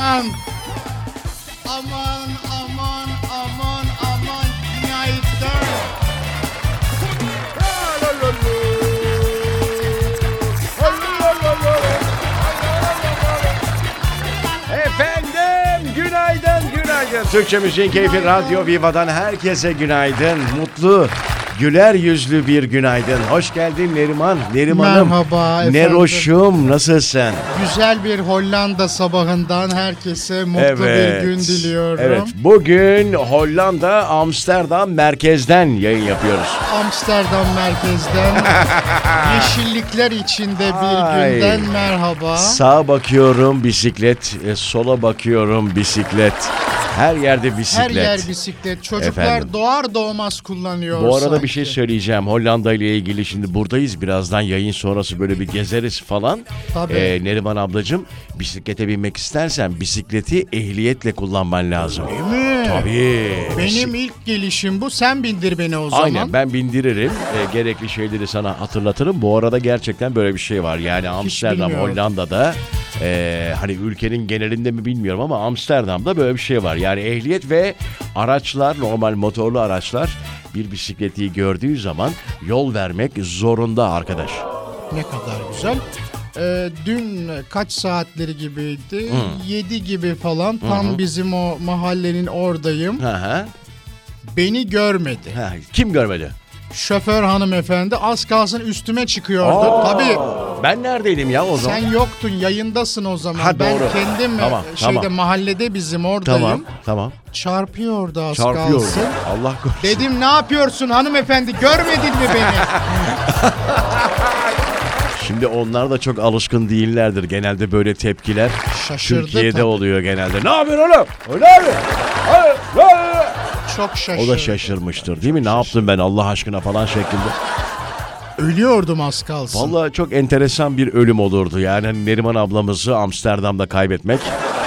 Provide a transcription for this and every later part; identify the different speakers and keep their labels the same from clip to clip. Speaker 1: Aman. Aman aman aman aman dünyayı dön.
Speaker 2: Efendim günaydın günaydın. Türkçe Müziğin Keyfi Radyo Viva'dan herkese günaydın. Mutlu, güler yüzlü bir günaydın. Hoş geldin Neriman, Neriman'ım.
Speaker 1: Merhaba efendim.
Speaker 2: Neroş'um nasılsın?
Speaker 1: Güzel bir Hollanda sabahından herkese mutlu bir gün diliyorum.
Speaker 2: Evet. Bugün Hollanda Amsterdam merkezden yayın yapıyoruz.
Speaker 1: Amsterdam merkezden yeşillikler içinde bir
Speaker 2: Ay.
Speaker 1: günden merhaba.
Speaker 2: Sağa bakıyorum bisiklet, e, sola bakıyorum bisiklet. Her yerde bisiklet.
Speaker 1: Her yer bisiklet. Çocuklar
Speaker 2: Efendim.
Speaker 1: doğar doğmaz kullanıyor.
Speaker 2: Bu arada
Speaker 1: sanki.
Speaker 2: bir şey söyleyeceğim. Hollanda ile ilgili şimdi buradayız. Birazdan yayın sonrası böyle bir gezeriz falan.
Speaker 1: Tabii.
Speaker 2: Ee, Neriman ablacığım bisiklete binmek istersen bisikleti ehliyetle kullanman lazım.
Speaker 1: mi?
Speaker 2: Tabii.
Speaker 1: Benim ilk gelişim bu. Sen bindir beni o zaman.
Speaker 2: Aynen ben bindiririm. Ee, gerekli şeyleri sana hatırlatırım. Bu arada gerçekten böyle bir şey var. Yani Amsterdam,
Speaker 1: bilmiyorum.
Speaker 2: Hollanda'da e, hani ülkenin genelinde mi bilmiyorum ama Amsterdam'da böyle bir şey var. Yani ehliyet ve araçlar, normal motorlu araçlar bir bisikleti gördüğü zaman yol vermek zorunda arkadaş.
Speaker 1: Ne kadar güzel. Ee, dün kaç saatleri gibiydi? 7 gibi falan. Tam bizim o mahallenin oradayım.
Speaker 2: Hı hı.
Speaker 1: Beni görmedi.
Speaker 2: Ha, Kim görmedi?
Speaker 1: Şoför hanımefendi az kalsın üstüme çıkıyordu.
Speaker 2: Aa,
Speaker 1: Tabii
Speaker 2: Ben neredeydim ya o zaman?
Speaker 1: sen yoktun, yayındasın o zaman.
Speaker 2: Ha,
Speaker 1: ben
Speaker 2: doğru.
Speaker 1: kendim
Speaker 2: Tamam,
Speaker 1: e, şeyde
Speaker 2: tamam.
Speaker 1: mahallede bizim oradayım.
Speaker 2: Tamam, tamam.
Speaker 1: Çarpıyordu az
Speaker 2: Çarpıyor.
Speaker 1: kalsın.
Speaker 2: Allah korusun.
Speaker 1: Dedim ne yapıyorsun hanımefendi görmedin mi beni?
Speaker 2: Şimdi onlar da çok alışkın değillerdir. Genelde böyle tepkiler
Speaker 1: Şaşırdı
Speaker 2: Türkiye'de
Speaker 1: tabii.
Speaker 2: oluyor genelde. Ne yapıyorsun oğlum? Öyle abi. Hayır, hayır.
Speaker 1: Çok şaşırdım.
Speaker 2: O da şaşırmıştır değil mi? Ne yaptım ben Allah aşkına falan şeklinde.
Speaker 1: Ölüyordum az kalsın.
Speaker 2: Vallahi çok enteresan bir ölüm olurdu. Yani hani Neriman ablamızı Amsterdam'da kaybetmek.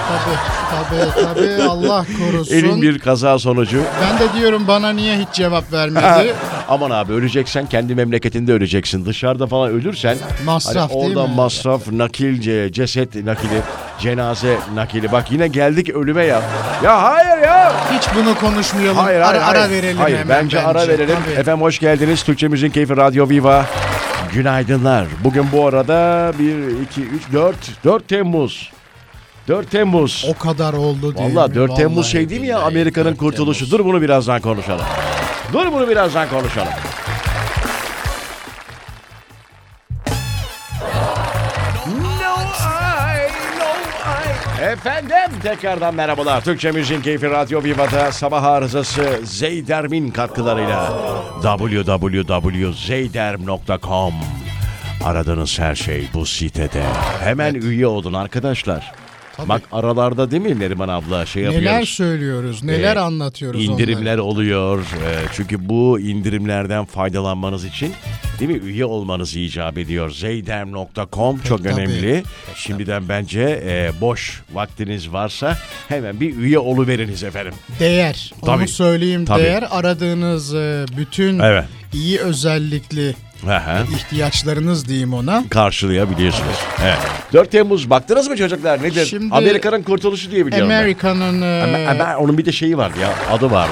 Speaker 1: Tabii tabii tabii Allah korusun.
Speaker 2: Elin bir kaza sonucu.
Speaker 1: Ben de diyorum bana niye hiç cevap vermedi?
Speaker 2: Aman abi öleceksen kendi memleketinde öleceksin. Dışarıda falan ölürsen
Speaker 1: Masraf
Speaker 2: hani
Speaker 1: değil
Speaker 2: oradan
Speaker 1: mi?
Speaker 2: masraf, nakil, ce- ceset nakili, cenaze nakili. Bak yine geldik ölüme ya. Ya hayır ya.
Speaker 1: hiç bunu konuşmayalım.
Speaker 2: Hayır,
Speaker 1: ara,
Speaker 2: hayır,
Speaker 1: ara
Speaker 2: hayır.
Speaker 1: verelim
Speaker 2: Hayır,
Speaker 1: hemen.
Speaker 2: bence, ara verelim.
Speaker 1: Tabii.
Speaker 2: Efendim hoş geldiniz. Türkçe Müziğin Keyfi Radyo Viva. Günaydınlar. Bugün bu arada 1, 2, 3, 4, 4 Temmuz. 4 Temmuz.
Speaker 1: O kadar oldu diye.
Speaker 2: Valla 4 Temmuz şey değil mi ya Amerika'nın kurtuluşu. Dur bunu birazdan konuşalım. Dur bunu birazdan konuşalım. Efendim tekrardan merhabalar. Türkçe Müziğin Keyfi Radyo Viva'da sabah arızası Zeydermin katkılarıyla www.zeyderm.com Aradığınız her şey bu sitede. Hemen üye olun arkadaşlar. Bak aralarda değil mi Neriman abla şey
Speaker 1: Neler
Speaker 2: yapıyoruz.
Speaker 1: söylüyoruz, neler
Speaker 2: Ee,
Speaker 1: anlatıyoruz
Speaker 2: İndirimler oluyor. Ee, çünkü bu indirimlerden faydalanmanız için değil mi üye olmanız icap ediyor. Zeydem.com çok
Speaker 1: tabii.
Speaker 2: önemli. Şimdiden bence e, boş vaktiniz varsa hemen bir üye oluveriniz efendim.
Speaker 1: onları. Değer, onu
Speaker 2: Tabii,
Speaker 1: söyleyeyim
Speaker 2: tabii.
Speaker 1: değer. Aradığınız e, bütün
Speaker 2: Evet.
Speaker 1: iyi özellikli
Speaker 2: Aha,
Speaker 1: ihtiyaçlarınız diyeyim ona.
Speaker 2: Karşılayabiliyorsunuz. Evet. 4 Temmuz baktınız mı çocuklar nedir?
Speaker 1: Şimdi-
Speaker 2: Amerika'nın kurtuluşu diye biliyorum ben.
Speaker 1: Amerika'nın e,
Speaker 2: Ama- ama onun bir de şeyi vardı ya adı vardı.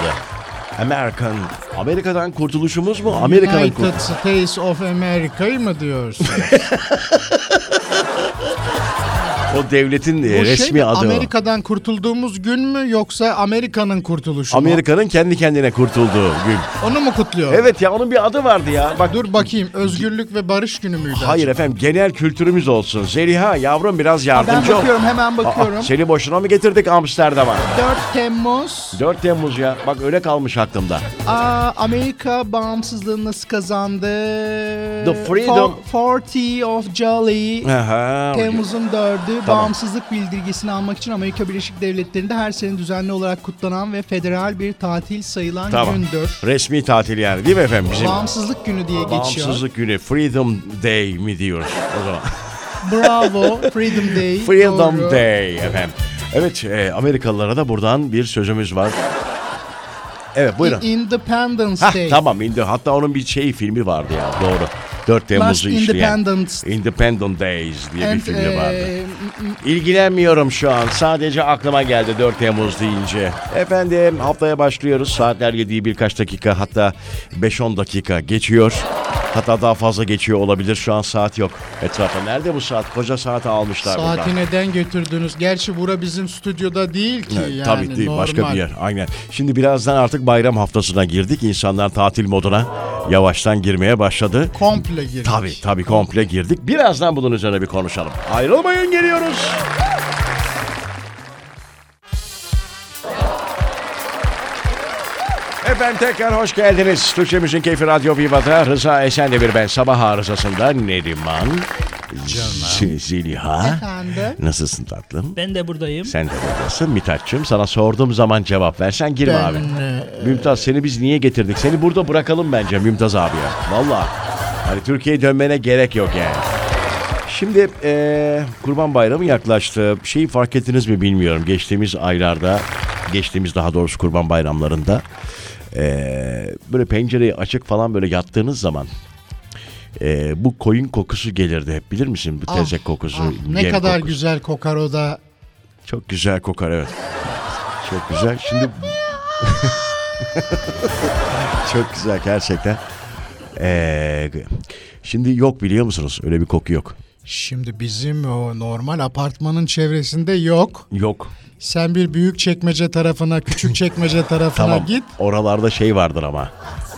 Speaker 2: American. Amerika'dan kurtuluşumuz mu? Amerika'nın kurtuluşu.
Speaker 1: United States of America'yı mı diyorsun?
Speaker 2: O devletin e,
Speaker 1: Bu şey
Speaker 2: resmi
Speaker 1: mi,
Speaker 2: adı o.
Speaker 1: Amerika'dan kurtulduğumuz gün mü yoksa Amerika'nın kurtuluşu mu?
Speaker 2: Amerika'nın kendi kendine kurtulduğu gün.
Speaker 1: Onu mu kutluyor?
Speaker 2: Evet ya onun bir adı vardı ya. Bak
Speaker 1: Dur bakayım özgürlük ve barış günü müydü?
Speaker 2: Hayır efendim genel kültürümüz olsun. Zeliha yavrum biraz
Speaker 1: acaba? Ben
Speaker 2: yardımcı ol.
Speaker 1: bakıyorum hemen
Speaker 2: Aa,
Speaker 1: bakıyorum.
Speaker 2: seni boşuna mı getirdik Amsterdam'a?
Speaker 1: 4 Temmuz
Speaker 2: 4 Temmuz ya. Bak öyle kalmış aklımda.
Speaker 1: aa, Amerika bağımsızlığını nasıl kazandı?
Speaker 2: The freedom-
Speaker 1: For- 40 of Jolly.
Speaker 2: Aha.
Speaker 1: Temmuz'un 4'ü bağımsızlık bildirgesini almak için Amerika Birleşik Devletleri'nde her sene düzenli olarak kutlanan ve federal bir tatil sayılan
Speaker 2: Tamam.
Speaker 1: gündür.
Speaker 2: Resmi tatil yani değil mi efendim bizim?
Speaker 1: Bağımsızlık günü diye geçiyor.
Speaker 2: Bağımsızlık günü. Freedom Day mi diyoruz o zaman?
Speaker 1: Bravo, Freedom Day.
Speaker 2: Freedom
Speaker 1: Doğru.
Speaker 2: Day efendim. Evet e, Amerikalılara da buradan bir sözümüz var. Evet buyurun.
Speaker 1: Independence
Speaker 2: Hah,
Speaker 1: Day.
Speaker 2: tamam indi. Hatta onun bir şey filmi vardı ya doğru. 4 Temmuz'u işleyen.
Speaker 1: Independence-
Speaker 2: Independent Days diye
Speaker 1: And,
Speaker 2: bir filmi
Speaker 1: eee,
Speaker 2: vardı. İlgilenmiyorum şu an. Sadece aklıma geldi 4 Temmuz deyince. Efendim haftaya başlıyoruz. Saatler 7'yi birkaç dakika hatta 5-10 dakika geçiyor. Hatta daha fazla geçiyor olabilir. Şu an saat yok. Etrafa nerede bu saat? Koca saati almışlar buradan.
Speaker 1: Saati neden götürdünüz? Gerçi bura bizim stüdyoda değil ki yani.
Speaker 2: Tabii değil
Speaker 1: normal.
Speaker 2: başka bir yer. Aynen. Şimdi birazdan artık bayram haftasına girdik. İnsanlar tatil moduna yavaştan girmeye başladı.
Speaker 1: Komple girdik.
Speaker 2: Tabii tabii komple girdik. Birazdan bunun üzerine bir konuşalım. Ayrılmayın geliyoruz. Efendim tekrar hoş geldiniz. Türkçemizin Keyfi Radyo Viva'da Rıza Esen'de ben sabah arızasında Neriman. Z- Zeliha.
Speaker 1: Efendim?
Speaker 2: Nasılsın tatlım?
Speaker 3: Ben de buradayım.
Speaker 2: Sen de buradasın Mithat'cığım. Sana sorduğum zaman cevap versen girme
Speaker 1: Ben, e,
Speaker 2: abi. Mümtaz seni biz niye getirdik? Seni burada bırakalım bence Mümtaz abiye. Valla. Hani Türkiye'ye dönmene gerek yok yani. Şimdi eee, Kurban Bayramı yaklaştı. Şeyi fark ettiniz mi bilmiyorum. Geçtiğimiz aylarda, geçtiğimiz daha doğrusu Kurban Bayramlarında eee, böyle pencereyi açık falan böyle yattığınız zaman eee, bu koyun kokusu gelirdi hep bilir misin? Bu
Speaker 1: Ah,
Speaker 2: tezek kokusu.
Speaker 1: ah, ne
Speaker 2: yem
Speaker 1: kadar
Speaker 2: kokusu.
Speaker 1: güzel kokar o da.
Speaker 2: Çok güzel kokar evet. Çok güzel. Şimdi çok güzel gerçekten. Ee, şimdi yok biliyor musunuz? Öyle bir koku yok.
Speaker 1: Şimdi bizim o normal apartmanın çevresinde yok.
Speaker 2: Yok.
Speaker 1: Sen bir büyük çekmece tarafına, küçük çekmece tarafına
Speaker 2: Tamam.
Speaker 1: git.
Speaker 2: Oralarda şey vardır ama.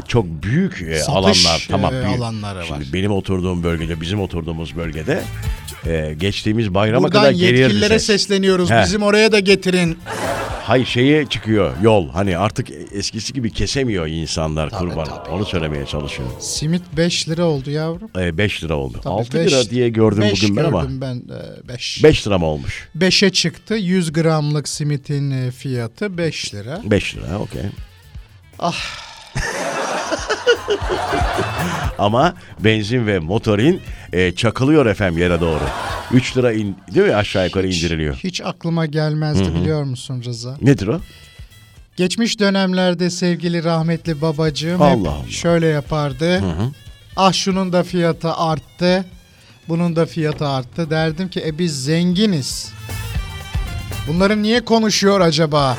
Speaker 2: Çok büyük e,
Speaker 1: Satış,
Speaker 2: alanlar. Tamam.
Speaker 1: e,
Speaker 2: büyük.
Speaker 1: alanları
Speaker 2: Şimdi
Speaker 1: var.
Speaker 2: benim oturduğum bölgede, bizim oturduğumuz bölgede e, geçtiğimiz bayrama
Speaker 1: Buradan
Speaker 2: kadar gelirdi
Speaker 1: yetkililere
Speaker 2: ses.
Speaker 1: sesleniyoruz.
Speaker 2: He.
Speaker 1: Bizim oraya da getirin.
Speaker 2: Hay şeye çıkıyor yol. Hani artık eskisi gibi kesemiyor insanlar kurban. Onu söylemeye çalışıyorum.
Speaker 1: Simit 5 lira oldu yavrum.
Speaker 2: 5 Ee, lira oldu.
Speaker 1: Tabii
Speaker 2: 6
Speaker 1: beş-
Speaker 2: lira diye gördüm
Speaker 1: beş
Speaker 2: bugün ben ama.
Speaker 1: gördüm ben 5.
Speaker 2: 5 lira mı olmuş?
Speaker 1: 5'e çıktı. 100 gramlık simitin e, fiyatı 5 lira.
Speaker 2: 5 lira okey. Ah. ama benzin ve motorin e, çakılıyor efendim yere doğru. 3 lira in, değil mi aşağı yukarı indiriliyor.
Speaker 1: Hiç aklıma gelmezdi biliyor musun Rıza?
Speaker 2: Nedir o?
Speaker 1: Geçmiş dönemlerde sevgili rahmetli babacığım hep
Speaker 2: Allah Allah.
Speaker 1: şöyle yapardı. Ah şunun da fiyatı arttı. Bunun da fiyatı arttı. Derdim ki e biz zenginiz. Bunları niye konuşuyor acaba?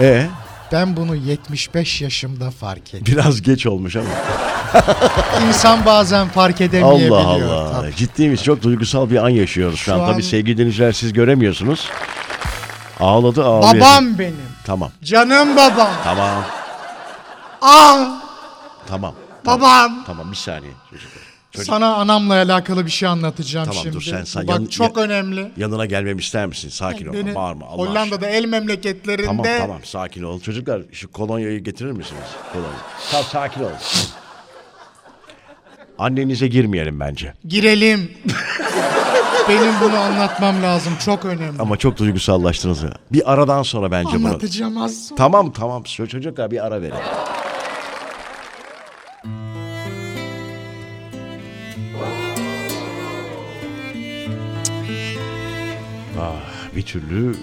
Speaker 2: E
Speaker 1: Ben bunu 75 yaşımda fark ettim.
Speaker 2: biraz geç olmuş ama.
Speaker 1: İnsan bazen fark edemeyebiliyor.
Speaker 2: Allah Allah.
Speaker 1: Tabii.
Speaker 2: Ciddi miyiz? Çok duygusal bir an yaşıyoruz şu,
Speaker 1: Şu
Speaker 2: an.
Speaker 1: an-
Speaker 2: Tabii sevgili dinleyiciler siz göremiyorsunuz. Ağladı ağlıyor.
Speaker 1: Babam benim.
Speaker 2: Tamam.
Speaker 1: Canım babam.
Speaker 2: Tamam.
Speaker 1: Ah
Speaker 2: Tamam.
Speaker 1: babam.
Speaker 2: Tamam bir saniye çocuklar. Çocuk-
Speaker 1: Sana anamla alakalı bir şey anlatacağım
Speaker 2: Tamam, dur
Speaker 1: şimdi.
Speaker 2: sen- sen
Speaker 1: Bak
Speaker 2: yan-
Speaker 1: çok
Speaker 2: ya-
Speaker 1: önemli.
Speaker 2: Yanına gelmemi ister misin? Sakin ol.
Speaker 1: Beni
Speaker 2: Bağırma. Allah aşkına.
Speaker 1: Hollanda'da el memleketlerinde
Speaker 2: Tamam tamam sakin ol. Çocuklar şu kolonyayı getirir misiniz? Kolonya. Tamam sakin ol. Annenize girmeyelim bence.
Speaker 1: girelim. Benim bunu anlatmam lazım. Çok önemli.
Speaker 2: Ama çok duygusallaştınız. ya. Bir aradan sonra bence bunu.
Speaker 1: Anlatacağım az sonra.
Speaker 2: Tamam tamam Şu çocuklar bir ara verin. Ah, bir türlü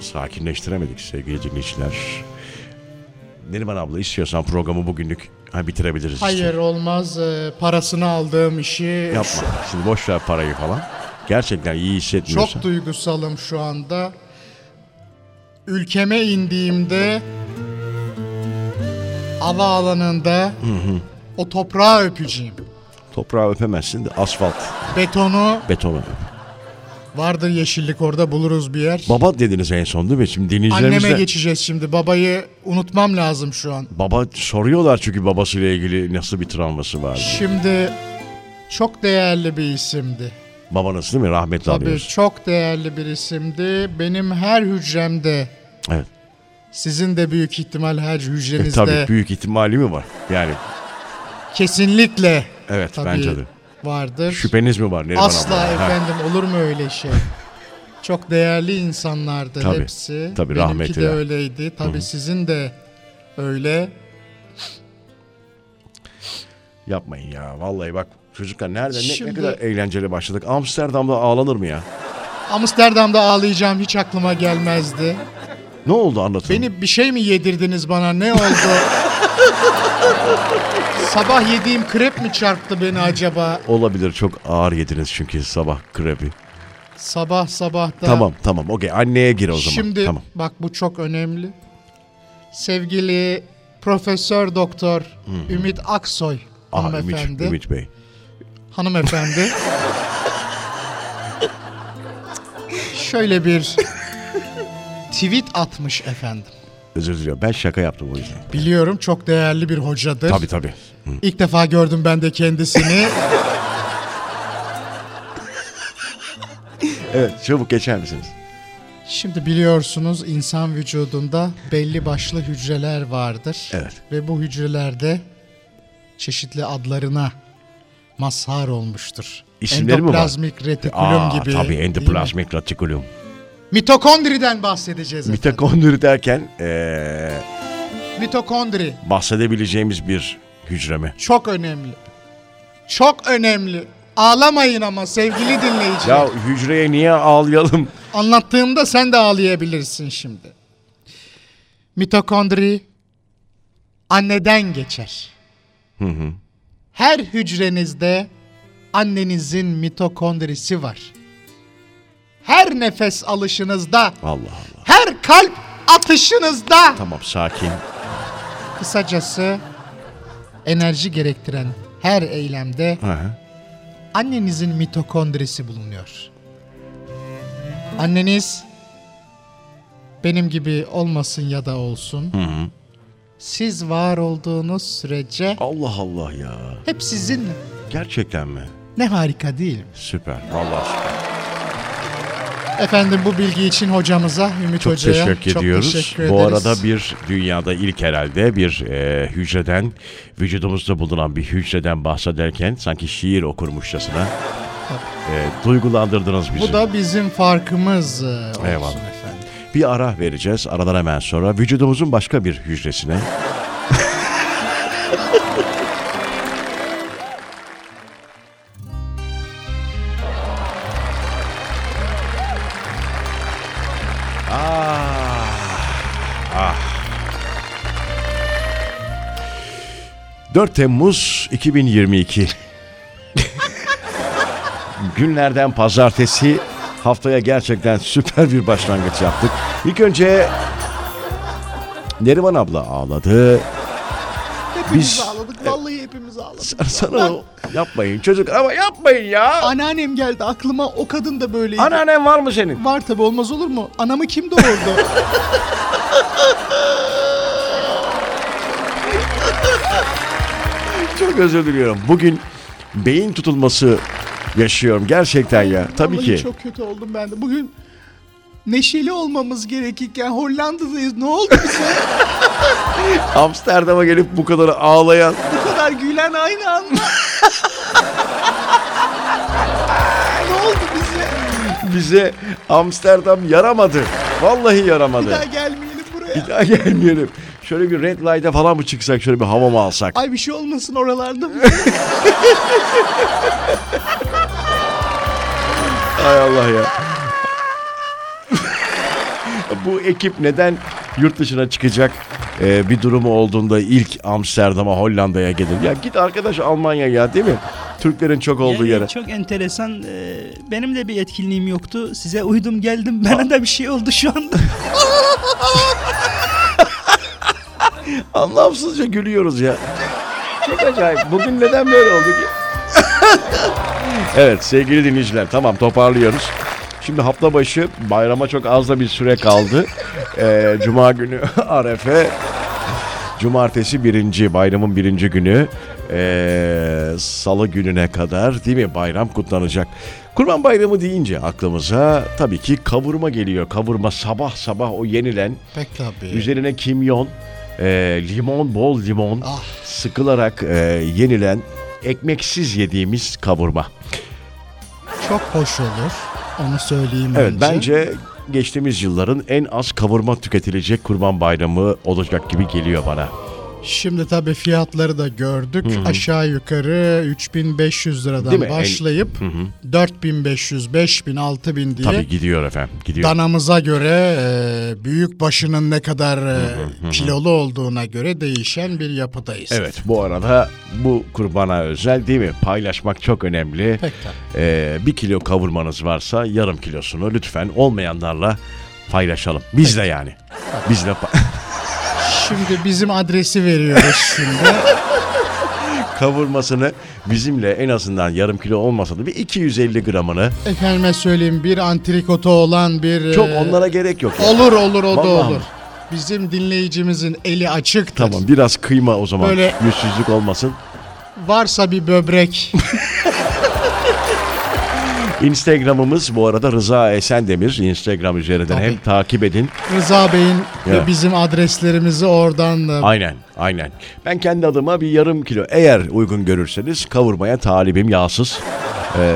Speaker 2: sakinleştiremedik sevgili dinleyiciler. Neriman abla istiyorsan programı bugünlük ha, bitirebiliriz.
Speaker 1: Hayır
Speaker 2: işte.
Speaker 1: olmaz. Ee, Parasını aldığım işi.
Speaker 2: Yapma. Şimdi boş ver parayı falan. Gerçekten iyi hissetmiyorsan.
Speaker 1: Çok duygusalım şu anda. Ülkeme indiğimde hava alanında o toprağı öpeceğim.
Speaker 2: Toprağı öpemezsin de asfalt,
Speaker 1: Betonu
Speaker 2: betonu. öp.
Speaker 1: vardır yeşillik orada buluruz bir yer.
Speaker 2: Baba dediniz en son değil mi? Şimdi dinleyicilerimiz
Speaker 1: Anneme
Speaker 2: de-
Speaker 1: geçeceğiz şimdi. Babayı unutmam lazım şu an.
Speaker 2: Baba soruyorlar çünkü babasıyla ilgili nasıl bir travması var. diye.
Speaker 1: Şimdi çok değerli bir isimdi.
Speaker 2: Babanız değil mi? Rahmetli
Speaker 1: Tabii
Speaker 2: anıyoruz.
Speaker 1: çok değerli bir isimdi. Benim her hücremde,
Speaker 2: Evet.
Speaker 1: sizin de büyük ihtimal her
Speaker 2: E,
Speaker 1: hücrenizde
Speaker 2: tabii büyük ihtimali mi var? Yani
Speaker 1: kesinlikle
Speaker 2: evet
Speaker 1: tabii
Speaker 2: bence de.
Speaker 1: vardır.
Speaker 2: Şüpheniz mi var Neriman
Speaker 1: Asla
Speaker 2: abla? Ha,
Speaker 1: efendim olur mu öyle şey? Çok değerli insanlardı
Speaker 2: Tabii,
Speaker 1: hepsi.
Speaker 2: tabii
Speaker 1: Benimki
Speaker 2: rahmetli.
Speaker 1: de öyleydi. Tabii sizin de öyle.
Speaker 2: Yapmayın ya. Vallahi bak çocuklar nereden ne-
Speaker 1: Şimdi-
Speaker 2: ne kadar eğlenceli başladık. Amsterdam'da ağlanır mı ya?
Speaker 1: Amsterdam'da ağlayacağım hiç aklıma gelmezdi.
Speaker 2: Ne oldu anlatın.
Speaker 1: Beni bir şey mi yedirdiniz bana? Ne oldu? Sabah yediğim krep mi çarptı beni acaba?
Speaker 2: Olabilir çok ağır yediniz çünkü sabah krepi.
Speaker 1: Sabah sabah da.
Speaker 2: Tamam tamam okey anneye gir o zaman.
Speaker 1: Şimdi
Speaker 2: Tamam.
Speaker 1: bak bu çok önemli. Sevgili Profesör Doktor Ümit Aksoy
Speaker 2: Aa, Ümit,
Speaker 1: hanımefendi.
Speaker 2: Ümit Bey.
Speaker 1: Hanımefendi. Şöyle bir tweet atmış efendim.
Speaker 2: Özür diliyorum ben şaka yaptım o yüzden.
Speaker 1: Biliyorum çok değerli bir hocadır.
Speaker 2: Tabii tabii.
Speaker 1: İlk defa gördüm ben de kendisini.
Speaker 2: Evet çabuk geçer misiniz?
Speaker 1: Şimdi biliyorsunuz insan vücudunda belli başlı hücreler vardır.
Speaker 2: Evet.
Speaker 1: Ve bu hücrelerde çeşitli adlarına mazhar olmuştur.
Speaker 2: İsimleri mi var?
Speaker 1: Endoplazmik retikulum
Speaker 2: Aa,
Speaker 1: gibi.
Speaker 2: tabii
Speaker 1: değil mi?
Speaker 2: endoplasmik retikulum.
Speaker 1: Mitokondriden bahsedeceğiz. efendim.
Speaker 2: Mitokondri derken ee,
Speaker 1: Mitokondri
Speaker 2: bahsedebileceğimiz bir hücre mi?
Speaker 1: çok önemli. Çok önemli. Ağlamayın ama sevgili dinleyiciler.
Speaker 2: Ya hücreye niye ağlayalım?
Speaker 1: Anlattığımda sen de ağlayabilirsin şimdi. Mitokondri anneden geçer. Her hücrenizde annenizin mitokondrisi var. Her nefes alışınızda,
Speaker 2: Allah Allah.
Speaker 1: her kalp atışınızda
Speaker 2: Tamam sakin.
Speaker 1: kısacası enerji gerektiren her eylemde
Speaker 2: Hı hı.
Speaker 1: annenizin mitokondrisi bulunuyor. Anneniz benim gibi olmasın ya da olsun. Siz var olduğunuz sürece
Speaker 2: Allah Allah ya.
Speaker 1: hep sizinle.
Speaker 2: Gerçekten mi?
Speaker 1: Ne harika değil mi?
Speaker 2: Süper. Vallahi süper.
Speaker 1: Efendim bu bilgi için hocamıza, Ümit
Speaker 2: Çok
Speaker 1: Hoca'ya
Speaker 2: teşekkür
Speaker 1: çok
Speaker 2: ediyoruz.
Speaker 1: teşekkür
Speaker 2: Bu
Speaker 1: ederiz.
Speaker 2: arada bir dünyada ilk herhalde bir e, hücreden, vücudumuzda bulunan bir hücreden bahsederken sanki şiir okurmuşçasına e, duygulandırdınız bizi.
Speaker 1: Bu da bizim farkımız e, olsun
Speaker 2: Eyvallah.
Speaker 1: efendim.
Speaker 2: Bir ara vereceğiz. Aradan hemen sonra vücudumuzun başka bir hücresine Ah, ah. 4 Temmuz 2022 Günlerden pazartesi haftaya gerçekten süper bir başlangıç yaptık. İlk önce Neriman abla ağladı.
Speaker 1: Hepimiz
Speaker 2: biz-
Speaker 1: ağladık, vallahi hepimiz ağladık.
Speaker 2: Sana o- yapmayın çocuk ama yapmayın ya.
Speaker 1: Anneannem geldi aklıma, o kadın da böyleydi.
Speaker 2: Anneannen var mı senin?
Speaker 1: Var tabi olmaz olur mu? Anamı kim doğurdu?
Speaker 2: Çok özür diliyorum. Bugün beyin tutulması yaşıyorum gerçekten ya. Tabii
Speaker 1: Vallahi
Speaker 2: ki.
Speaker 1: çok kötü oldum ben de. Bugün neşeli olmamız gerekirken Hollanda'dayız. Ne oldu bize?
Speaker 2: Amsterdam'a gelip bu kadar ağlayan
Speaker 1: Bu kadar gülen aynı anda. ne oldu bize?
Speaker 2: bize Amsterdam yaramadı. Vallahi
Speaker 1: Bir daha
Speaker 2: yaramadı.
Speaker 1: gelmeyelim buraya.
Speaker 2: Bir daha gelmeyelim. Şöyle bir red light'a falan mı çıksak? Şöyle bir hava mı alsak?
Speaker 1: Ay bir şey olmasın oralarda.
Speaker 2: Ay Allah ya. Bu ekip neden yurt dışına çıkacak Ee, bir durumu olduğunda ilk Amsterdam'a Hollanda'ya gelir? Ya git arkadaş Almanya ya değil mi? Türklerin çok olduğu
Speaker 3: Yani
Speaker 2: yere.
Speaker 3: Çok enteresan. Ee, Benim de bir etkinliğim yoktu. Size uydum geldim. Bana da bir şey oldu şu anda.
Speaker 2: Anlamsızca gülüyoruz ya. Çok acayip. Bugün neden böyle olduk ya? evet sevgili dinleyiciler tamam toparlıyoruz. Şimdi hafta başı bayrama çok az da bir süre kaldı. Ee, Cuma günü Arefe. Cumartesi birinci, bayramın birinci günü. Ee, Salı gününe kadar değil mi bayram kutlanacak. Kurban bayramı deyince aklımıza tabii ki kavurma geliyor. Kavurma sabah sabah o yenilen
Speaker 1: Pek tabii.
Speaker 2: Üzerine kimyon, e, limon, bol limon
Speaker 1: Ah.
Speaker 2: sıkılarak e, yenilen ekmeksiz yediğimiz kavurma.
Speaker 1: Çok hoş olur. Onu söyleyeyim
Speaker 2: Evet bence geçtiğimiz yılların en az kavurma tüketilecek kurban bayramı olacak gibi geliyor bana.
Speaker 3: Şimdi tabii fiyatları da gördük. Aşağı yukarı 3500 liradan
Speaker 2: Değil mi? En-
Speaker 3: başlayıp 4500, 5000, 6000 diye
Speaker 2: Tabii gidiyor efendim. Gidiyor.
Speaker 3: danamıza göre e, büyük başının ne kadar e, kilolu olduğuna göre değişen bir yapıdayız.
Speaker 2: Evet bu arada bu kurbana özel değil mi? Paylaşmak çok önemli.
Speaker 3: Peki.
Speaker 2: Ee, bir kilo kavurmanız varsa yarım kilosunu lütfen olmayanlarla paylaşalım. Biz de yani. Biz de pa-
Speaker 3: Şimdi bizim adresi veriyoruz şimdi.
Speaker 2: kavurmasını bizimle en azından yarım kilo olmasa da bir 250 gramını.
Speaker 3: Efendime söyleyeyim bir antrikotu olan bir...
Speaker 2: Çok
Speaker 3: e,
Speaker 2: onlara gerek yok. yani.
Speaker 3: Olur olur o da
Speaker 2: Vallahi
Speaker 3: olur.
Speaker 2: mi?
Speaker 3: Bizim dinleyicimizin eli açıktır.
Speaker 2: Tamam biraz kıyma o zaman.
Speaker 3: Böyle-
Speaker 2: Yüzsüzlük olmasın.
Speaker 3: Varsa bir böbrek
Speaker 2: Instagram'ımız bu arada Rıza Esendemir. Instagram üzerinden
Speaker 3: Tabii.
Speaker 2: hem takip edin.
Speaker 3: Rıza Bey'in
Speaker 2: Ya.
Speaker 3: ve bizim adreslerimizi oradan da
Speaker 2: Aynen, aynen. Ben kendi adıma bir yarım kilo eğer uygun görürseniz kavurmaya talibim yağsız.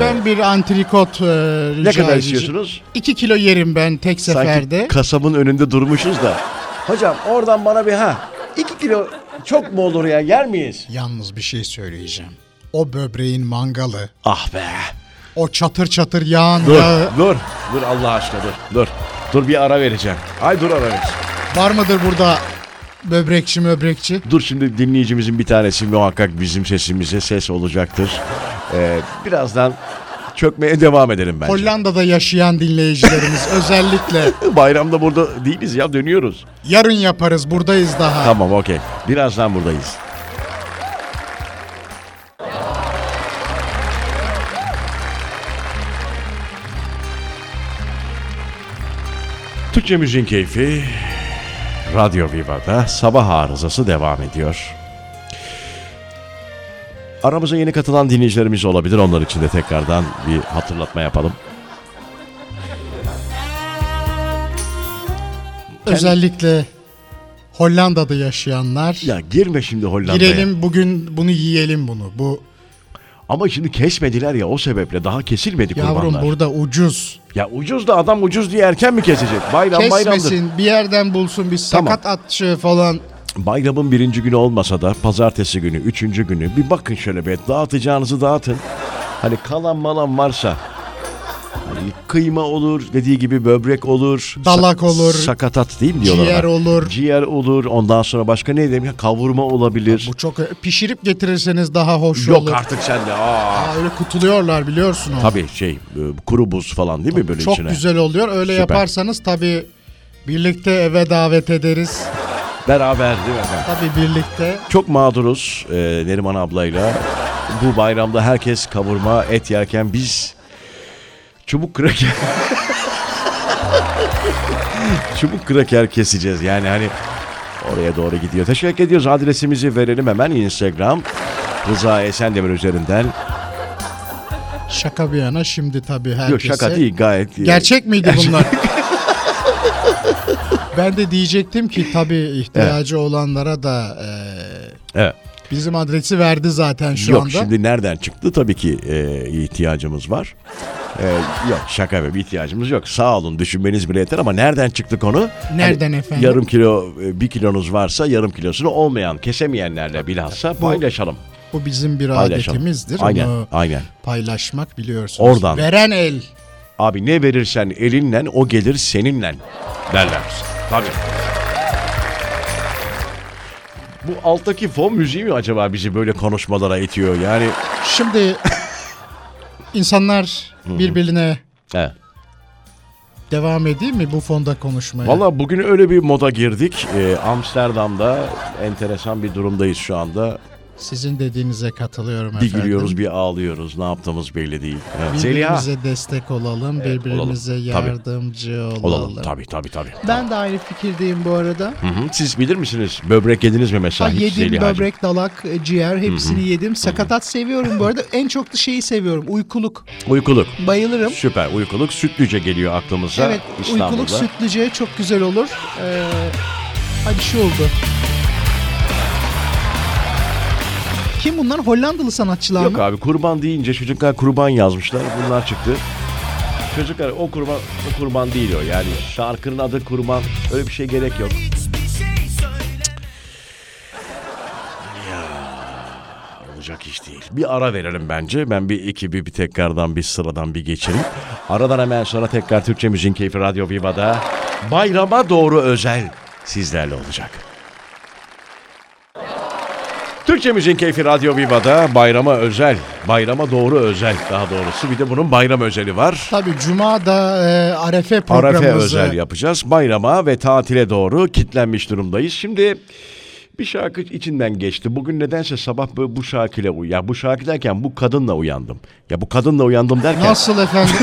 Speaker 3: ben bir antrikot e, rica
Speaker 2: Ne kadar
Speaker 3: edeceğim.
Speaker 2: istiyorsunuz?
Speaker 3: 2 kilo yerim ben tek seferde.
Speaker 2: Sanki kasabın önünde durmuşuz da. Hocam oradan bana bir ha. iki kilo çok mu olur ya yer miyiz?
Speaker 3: Yalnız bir şey söyleyeceğim. O böbreğin mangalı,
Speaker 2: Ah be.
Speaker 3: o çatır çatır yağan
Speaker 2: Dur,
Speaker 3: yağı
Speaker 2: dur. Dur Allah aşkına dur. Dur. Dur bir ara vereceğim. Ay dur ara vereceğim.
Speaker 3: var mıdır burada böbrekçi böbrekçi?
Speaker 2: Dur şimdi dinleyicimizin bir tanesi muhakkak bizim sesimize ses olacaktır. Ee, birazdan çökmeye devam edelim bence.
Speaker 3: Hollanda'da yaşayan dinleyicilerimiz özellikle
Speaker 2: Bayramda burada değiliz ya dönüyoruz.
Speaker 3: yarın yaparız buradayız daha.
Speaker 2: Tamam okey. Birazdan buradayız. Türkçe Müziğin Keyfi Radyo Viva'da sabah arızası devam ediyor. Aramıza yeni katılan dinleyicilerimiz olabilir. Onlar için de tekrardan bir hatırlatma yapalım.
Speaker 3: Özellikle Hollanda'da yaşayanlar
Speaker 2: Ya girme şimdi Hollanda'ya.
Speaker 3: girelim bugün bunu yiyelim bunu. Bu
Speaker 2: Ama şimdi kesmediler ya o sebeple daha kesilmedi kurbanlar.
Speaker 3: yavrum burada ucuz.
Speaker 2: Ya ucuz da adam ucuz diye erken mi kesecek? Bayram bayramdır.
Speaker 3: Kesmesin bir yerden bulsun bir
Speaker 2: Tamam.
Speaker 3: sakat atçı falan.
Speaker 2: Bayramın birinci günü olmasa da pazartesi günü, üçüncü günü bir bakın şöyle bir dağıtacağınızı dağıtın. Hani kalan malan varsa hani kıyma olur, dediği gibi böbrek olur.
Speaker 3: Dalak olur.
Speaker 2: Sakatat değil mi diyorlar?
Speaker 3: Ciğer
Speaker 2: ona?
Speaker 3: olur.
Speaker 2: Ciğer olur. Ondan sonra başka ne diyeyim? ya? Kavurma olabilir.
Speaker 3: Bu çok pişirip getirirseniz daha hoş
Speaker 2: Yok
Speaker 3: olur.
Speaker 2: artık sende. Aa.
Speaker 3: Aa, öyle kutuluyorlar biliyorsun onu.
Speaker 2: Tabii şey e, kuru buz falan değil mi böyle
Speaker 3: Çok
Speaker 2: içine?
Speaker 3: güzel oluyor. Öyle
Speaker 2: Süper.
Speaker 3: yaparsanız tabii birlikte eve davet ederiz.
Speaker 2: Beraber değil mi efendim?
Speaker 3: Tabii birlikte.
Speaker 2: Çok mağduruz e, Neriman ablayla. Bu bayramda herkes kavurma et yerken biz çubuk kraker çubuk kraker keseceğiz. Yani hani oraya doğru gidiyor. Teşekkür ediyoruz. Adresimizi verelim hemen Instagram. Rıza Esendemir üzerinden.
Speaker 3: Şaka bir yana şimdi tabii herkese.
Speaker 2: Yok şaka değil gayet. e,
Speaker 3: Gerçek miydi bunlar? ben de diyecektim ki tabii ihtiyacı olanlara da e,
Speaker 2: Evet.
Speaker 3: bizim adresi verdi zaten şu
Speaker 2: yok
Speaker 3: anda.
Speaker 2: şimdi nereden çıktı? Tabii ki e, ihtiyacımız var. E, yok şaka yapıyorum ihtiyacımız yok. Sağ olun düşünmeniz bile yeter ama nereden çıktı konu? Hani
Speaker 3: Nereden efendim?
Speaker 2: Yarım kilo e, bir kilonuz varsa yarım kilosunu olmayan kesemeyenlerle bilhassa paylaşalım.
Speaker 3: Bu bizim bir
Speaker 2: Paylaşalım.
Speaker 3: adetimizdir.
Speaker 2: Aynen
Speaker 3: Bunu
Speaker 2: aynen.
Speaker 3: paylaşmak biliyorsunuz.
Speaker 2: Oradan.
Speaker 3: Veren el.
Speaker 2: Abi ne verirsen elinle o gelir seninle derler. Tabii. Bu alttaki fon müziği mi acaba bizi böyle konuşmalara itiyor yani?
Speaker 3: Şimdi insanlar birbirine
Speaker 2: He.
Speaker 3: devam edeyim mi bu fonda konuşmaya?
Speaker 2: Valla bugün öyle bir moda girdik. Ee, Amsterdam'da enteresan bir durumdayız şu anda.
Speaker 3: Sizin dediğinize katılıyorum
Speaker 2: Bir
Speaker 3: efendim.
Speaker 2: gülüyoruz bir ağlıyoruz. Ne yaptığımız belli değil. Evet. Zeliha.
Speaker 3: Birbirimize destek olalım, birbirimize
Speaker 2: olalım. Tabii.
Speaker 3: yardımcı olalım.
Speaker 2: Olalım. Tabii tabii tabii.
Speaker 3: Ben de aynı fikirdeyim bu arada.
Speaker 2: Hı hı. Siz bilir misiniz? Böbrek yediniz mi mesela?
Speaker 3: Ha,
Speaker 2: hiç
Speaker 3: yedim
Speaker 2: Zeliha'cığım?
Speaker 3: böbrek, dalak, e, ciğer hepsini yedim. Sakatat seviyorum bu arada. En çok da şeyi seviyorum. Uykuluk.
Speaker 2: Uykuluk.
Speaker 3: Bayılırım.
Speaker 2: Süper uykuluk. Sütlüce geliyor aklımıza.
Speaker 3: evet,
Speaker 2: İstanbul'da.
Speaker 3: uykuluk sütlüce çok güzel olur. Ee, ay bir şey oldu. Kim bunlar? Hollandalı sanatçılar
Speaker 2: Yok
Speaker 3: mı?
Speaker 2: abi kurban deyince çocuklar kurban yazmışlar. Bunlar çıktı. Çocuklar o kurban o kurban değil o yani. Şarkının adı kurban. Öyle bir şey gerek yok. olacak iş değil. Bir ara verelim bence. Ben bir ekibi bir tekrardan bir sıradan bir geçireyim. Aradan hemen sonra tekrar Türkçe Müziğin Keyfi Radyo Viva'da bayrama doğru özel sizlerle olacak. Türkçe Müziğin Keyfi Radyo Viva'da bayrama özel, bayrama doğru özel daha doğrusu bir de bunun bayram özeli var.
Speaker 3: Tabii Cuma da e, Arefe programımızı.
Speaker 2: Arefe özel yapacağız. Bayrama ve tatile doğru kitlenmiş durumdayız. Şimdi bir şarkı içinden geçti. Bugün nedense sabah bu, bu şarkıyla uy- ya bu şarkı derken bu kadınla uyandım. Ya bu kadınla uyandım derken
Speaker 3: Nasıl efendim?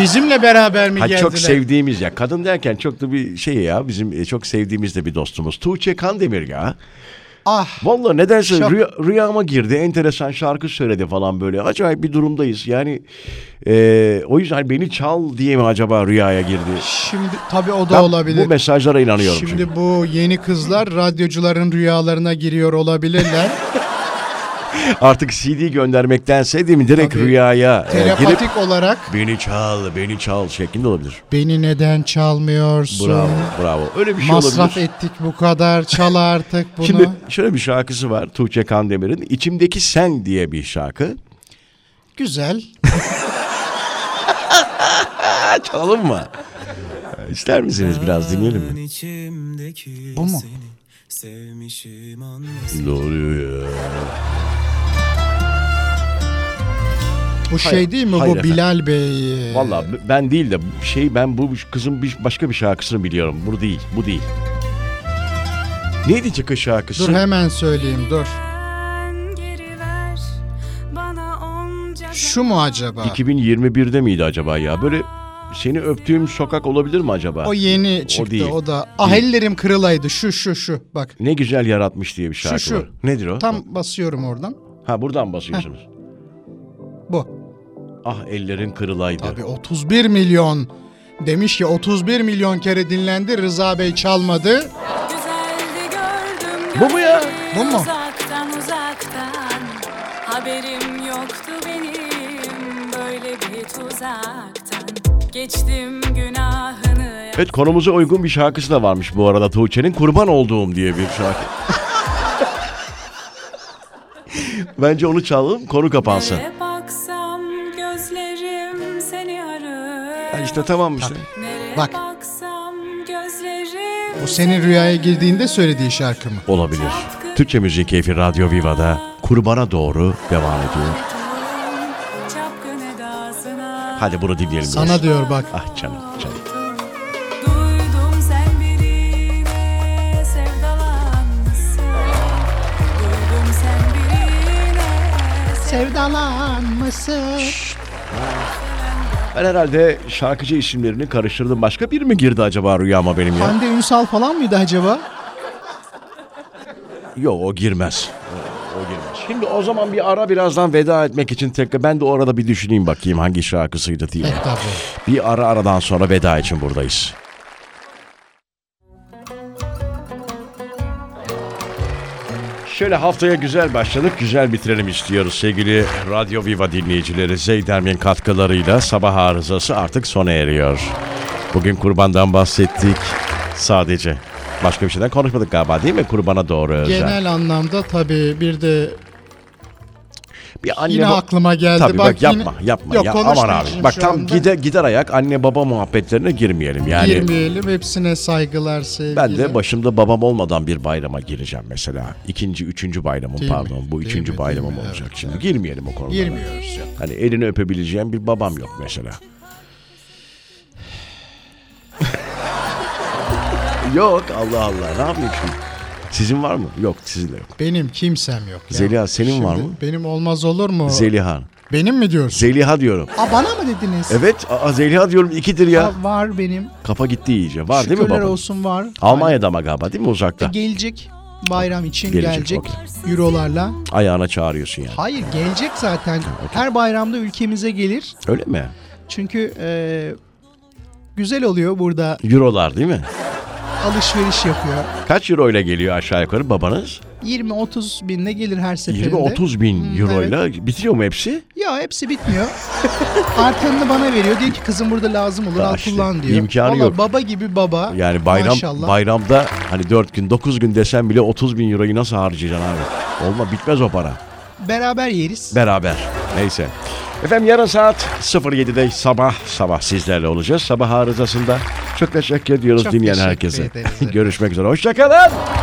Speaker 3: Bizimle beraber mi
Speaker 2: ha,
Speaker 3: geldiler?
Speaker 2: çok sevdiğimiz ya kadın derken çok da bir şey ya bizim e, çok sevdiğimiz de bir dostumuz Tuğçe Kandemir ya.
Speaker 3: Ah
Speaker 2: Vallahi nedense
Speaker 3: Şap-
Speaker 2: rüya- rüyama girdi. Enteresan şarkı söyledi falan böyle. Acayip bir durumdayız. Yani e, o yüzden beni çal diye mi acaba rüyaya girdi?
Speaker 3: şimdi tabii o da
Speaker 2: Ben
Speaker 3: olabilir.
Speaker 2: Bu mesajlara inanıyorum.
Speaker 3: Şimdi
Speaker 2: çünkü.
Speaker 3: bu yeni kızlar radyocuların rüyalarına giriyor olabilirler.
Speaker 2: Artık CD göndermektense değil mi direkt
Speaker 3: Tabii.
Speaker 2: rüyaya e, girip
Speaker 3: Telepatik olarak
Speaker 2: beni çal, beni çal şeklinde olabilir.
Speaker 3: beni neden çalmıyorsun?
Speaker 2: Bravo, bravo. Öyle bir şey
Speaker 3: Masraf
Speaker 2: olabilir.
Speaker 3: ettik bu kadar. Çal artık bunu.
Speaker 2: Şimdi şöyle bir şarkısı var Tuğçe Kandemir'in. İçimdeki Sen diye bir şarkı.
Speaker 3: Güzel.
Speaker 2: Ha, çalalım mı? E, İster misiniz biraz dinleyelim mi?
Speaker 4: İçimdeki
Speaker 3: Bu mu?
Speaker 4: seni sevmişim anlasın.
Speaker 2: Ne oluyor ya?
Speaker 3: Bu şey değil mi?
Speaker 2: hayır
Speaker 3: bu
Speaker 2: efendim.
Speaker 3: Bilal Bey.
Speaker 2: Valla ben değil de şey ben bu kızın bir, başka bir şarkısını biliyorum. Bu değil, bu değil. Neydi çıkış şarkısı?
Speaker 3: Dur hemen söyleyeyim dur.
Speaker 5: Sen geri ver bana onca
Speaker 3: Şu mu acaba?
Speaker 2: 2021'de miydi acaba ya? Böyle seni öptüğüm sokak olabilir mi acaba?
Speaker 3: O yeni çıktı o,
Speaker 2: değil.
Speaker 3: da. Ah ellerim kırılaydı. Şu şu şu. Bak.
Speaker 2: Ne güzel yaratmış diye bir şarkı
Speaker 3: şu.
Speaker 2: var. Nedir o?
Speaker 3: Tam basıyorum oradan.
Speaker 2: Ha buradan basıyorsunuz.
Speaker 3: Bu.
Speaker 2: Ah ellerin kırılaydı.
Speaker 3: Tabii 31 milyon demiş ki 31 milyon kere dinlendi. Rıza Bey çalmadı.
Speaker 5: güzeldi gördüm
Speaker 2: Bu mu ya?
Speaker 5: gözleri
Speaker 3: Bu mu?
Speaker 5: Uzaktan uzaktan haberim yoktu benim böyle bir tuzaktan geçtim günahını
Speaker 2: Evet konumuza uygun bir şarkısı da varmış bu arada Tuğçe'nin Kurban Olduğum diye bir şarkı. Bence onu çalalım konu kapansın.
Speaker 5: Nereye baksam gözlerim seni arıyor
Speaker 2: Ha işte tamam işte.
Speaker 5: Nereye
Speaker 3: Bak.
Speaker 5: baksam gözlerim
Speaker 3: Bu senin rüyaya girdiğinde söylediği şarkı mı?
Speaker 2: Olabilir. Türkçe Müzik Keyfi Radyo Viva'da Kurban'a doğru devam ediyor.
Speaker 5: Çapkın edasına
Speaker 2: Hadi bunu dinleyelim. biraz.
Speaker 3: Sana diyor bak.
Speaker 2: Ah canım canım.
Speaker 5: Duydum sen birine sevdalanmışsın Duydum sen birine
Speaker 3: Sevdalanmışsın.
Speaker 2: Ben herhalde şarkıcı isimlerini karıştırdım. Başka bir mi girdi acaba rüyama benim ya?
Speaker 3: Hande Ünsal falan mıydı acaba?
Speaker 2: Yok o girmez. O, o girmez. Şimdi o zaman bir ara birazdan veda etmek için tekrar ben de orada bir düşüneyim bakayım hangi şarkısıydı diye.
Speaker 3: Evet E, tabii.
Speaker 2: Bir ara aradan sonra veda için buradayız. Şöyle haftaya güzel başladık, güzel bitirelim istiyoruz sevgili Radyo Viva dinleyicileri. Zeydermin katkılarıyla sabah arızası artık sona eriyor. Bugün kurbandan bahsettik sadece. Başka bir şeyden konuşmadık galiba değil mi? Kurbana doğru özel.
Speaker 3: Genel anlamda tabii bir de
Speaker 2: bir anne
Speaker 3: yine
Speaker 2: ba-
Speaker 3: aklıma
Speaker 2: Hani
Speaker 3: geldi.
Speaker 2: Tabii bak,
Speaker 3: yine-
Speaker 2: yapma yapma.
Speaker 3: Yok,
Speaker 2: ya,
Speaker 3: konuşmayın
Speaker 2: aman abi.
Speaker 3: şimdi
Speaker 2: Bak
Speaker 3: şu
Speaker 2: tam
Speaker 3: anda.
Speaker 2: gider, gider ayak anne baba muhabbetlerine girmeyelim. Yani
Speaker 3: Girmeyelim hepsine saygılar sevgiler.
Speaker 2: Ben de başımda babam olmadan bir bayrama gireceğim mesela. İkinci, üçüncü bayramım
Speaker 3: Değil mi?
Speaker 2: pardon. Bu
Speaker 3: Değil
Speaker 2: üçüncü
Speaker 3: mi?
Speaker 2: bayramım
Speaker 3: Değil mi?
Speaker 2: olacak
Speaker 3: Evet,
Speaker 2: şimdi. Girmeyelim o konulara.
Speaker 3: Girmiyoruz ya.
Speaker 2: Hani elini öpebileceğim bir babam yok mesela. yok Allah Allah ne yapayım şimdi? Sizin var mı? Yok sizin de yok.
Speaker 3: Benim kimsem yok. ya.
Speaker 2: Zeliha, senin
Speaker 3: Şimdi
Speaker 2: var mı?
Speaker 3: Benim olmaz olur mu?
Speaker 2: Zeliha.
Speaker 3: benim mi diyorsun?
Speaker 2: Zeliha diyorum.
Speaker 3: Aa bana mı dediniz?
Speaker 2: Evet aa, Zeliha diyorum ikidir ya.
Speaker 3: Aa, var benim.
Speaker 2: Kafa gitti iyice. Var değil mi
Speaker 3: Şükürler
Speaker 2: baba?
Speaker 3: olsun var.
Speaker 2: Almanya'da ama galiba değil mi uzakta?
Speaker 3: Gelecek bayram için
Speaker 2: Gelecek,
Speaker 3: gelecek,
Speaker 2: okey.
Speaker 3: eurolarla.
Speaker 2: Ayağına çağırıyorsun yani.
Speaker 3: Hayır gelecek zaten. Her bayramda ülkemize gelir.
Speaker 2: Öyle mi?
Speaker 3: Çünkü e, güzel oluyor burada
Speaker 2: Eurolar değil mi?
Speaker 3: alışveriş yapıyor.
Speaker 2: Kaç euro ile geliyor aşağı yukarı babanız?
Speaker 3: 20-30 binle gelir her seferinde.
Speaker 2: 20-30 bin
Speaker 3: Hmm,
Speaker 2: euro ile bitiyor mu hepsi?
Speaker 3: Ya hepsi bitmiyor. Artanını bana veriyor. Diyor ki kızım burada lazım olur
Speaker 2: Daha
Speaker 3: al
Speaker 2: işte,
Speaker 3: kullan diyor.
Speaker 2: imkanı
Speaker 3: Valla
Speaker 2: yok.
Speaker 3: baba gibi baba.
Speaker 2: Yani bayram
Speaker 3: Maşallah.
Speaker 2: bayramda hani 4 gün 9 gün desen bile 30 bin euroyu nasıl harcayacaksın abi? Olma bitmez o para.
Speaker 3: Beraber yeriz.
Speaker 2: Beraber. Neyse. Efendim yarın saat 07'de sabah sabah sizlerle olacağız. Sabah arızasında çok teşekkür ediyoruz
Speaker 1: Çok
Speaker 2: dinleyen
Speaker 1: teşekkür
Speaker 2: herkese.
Speaker 1: ederiz.
Speaker 2: Görüşmek üzere. Hoşçakalın.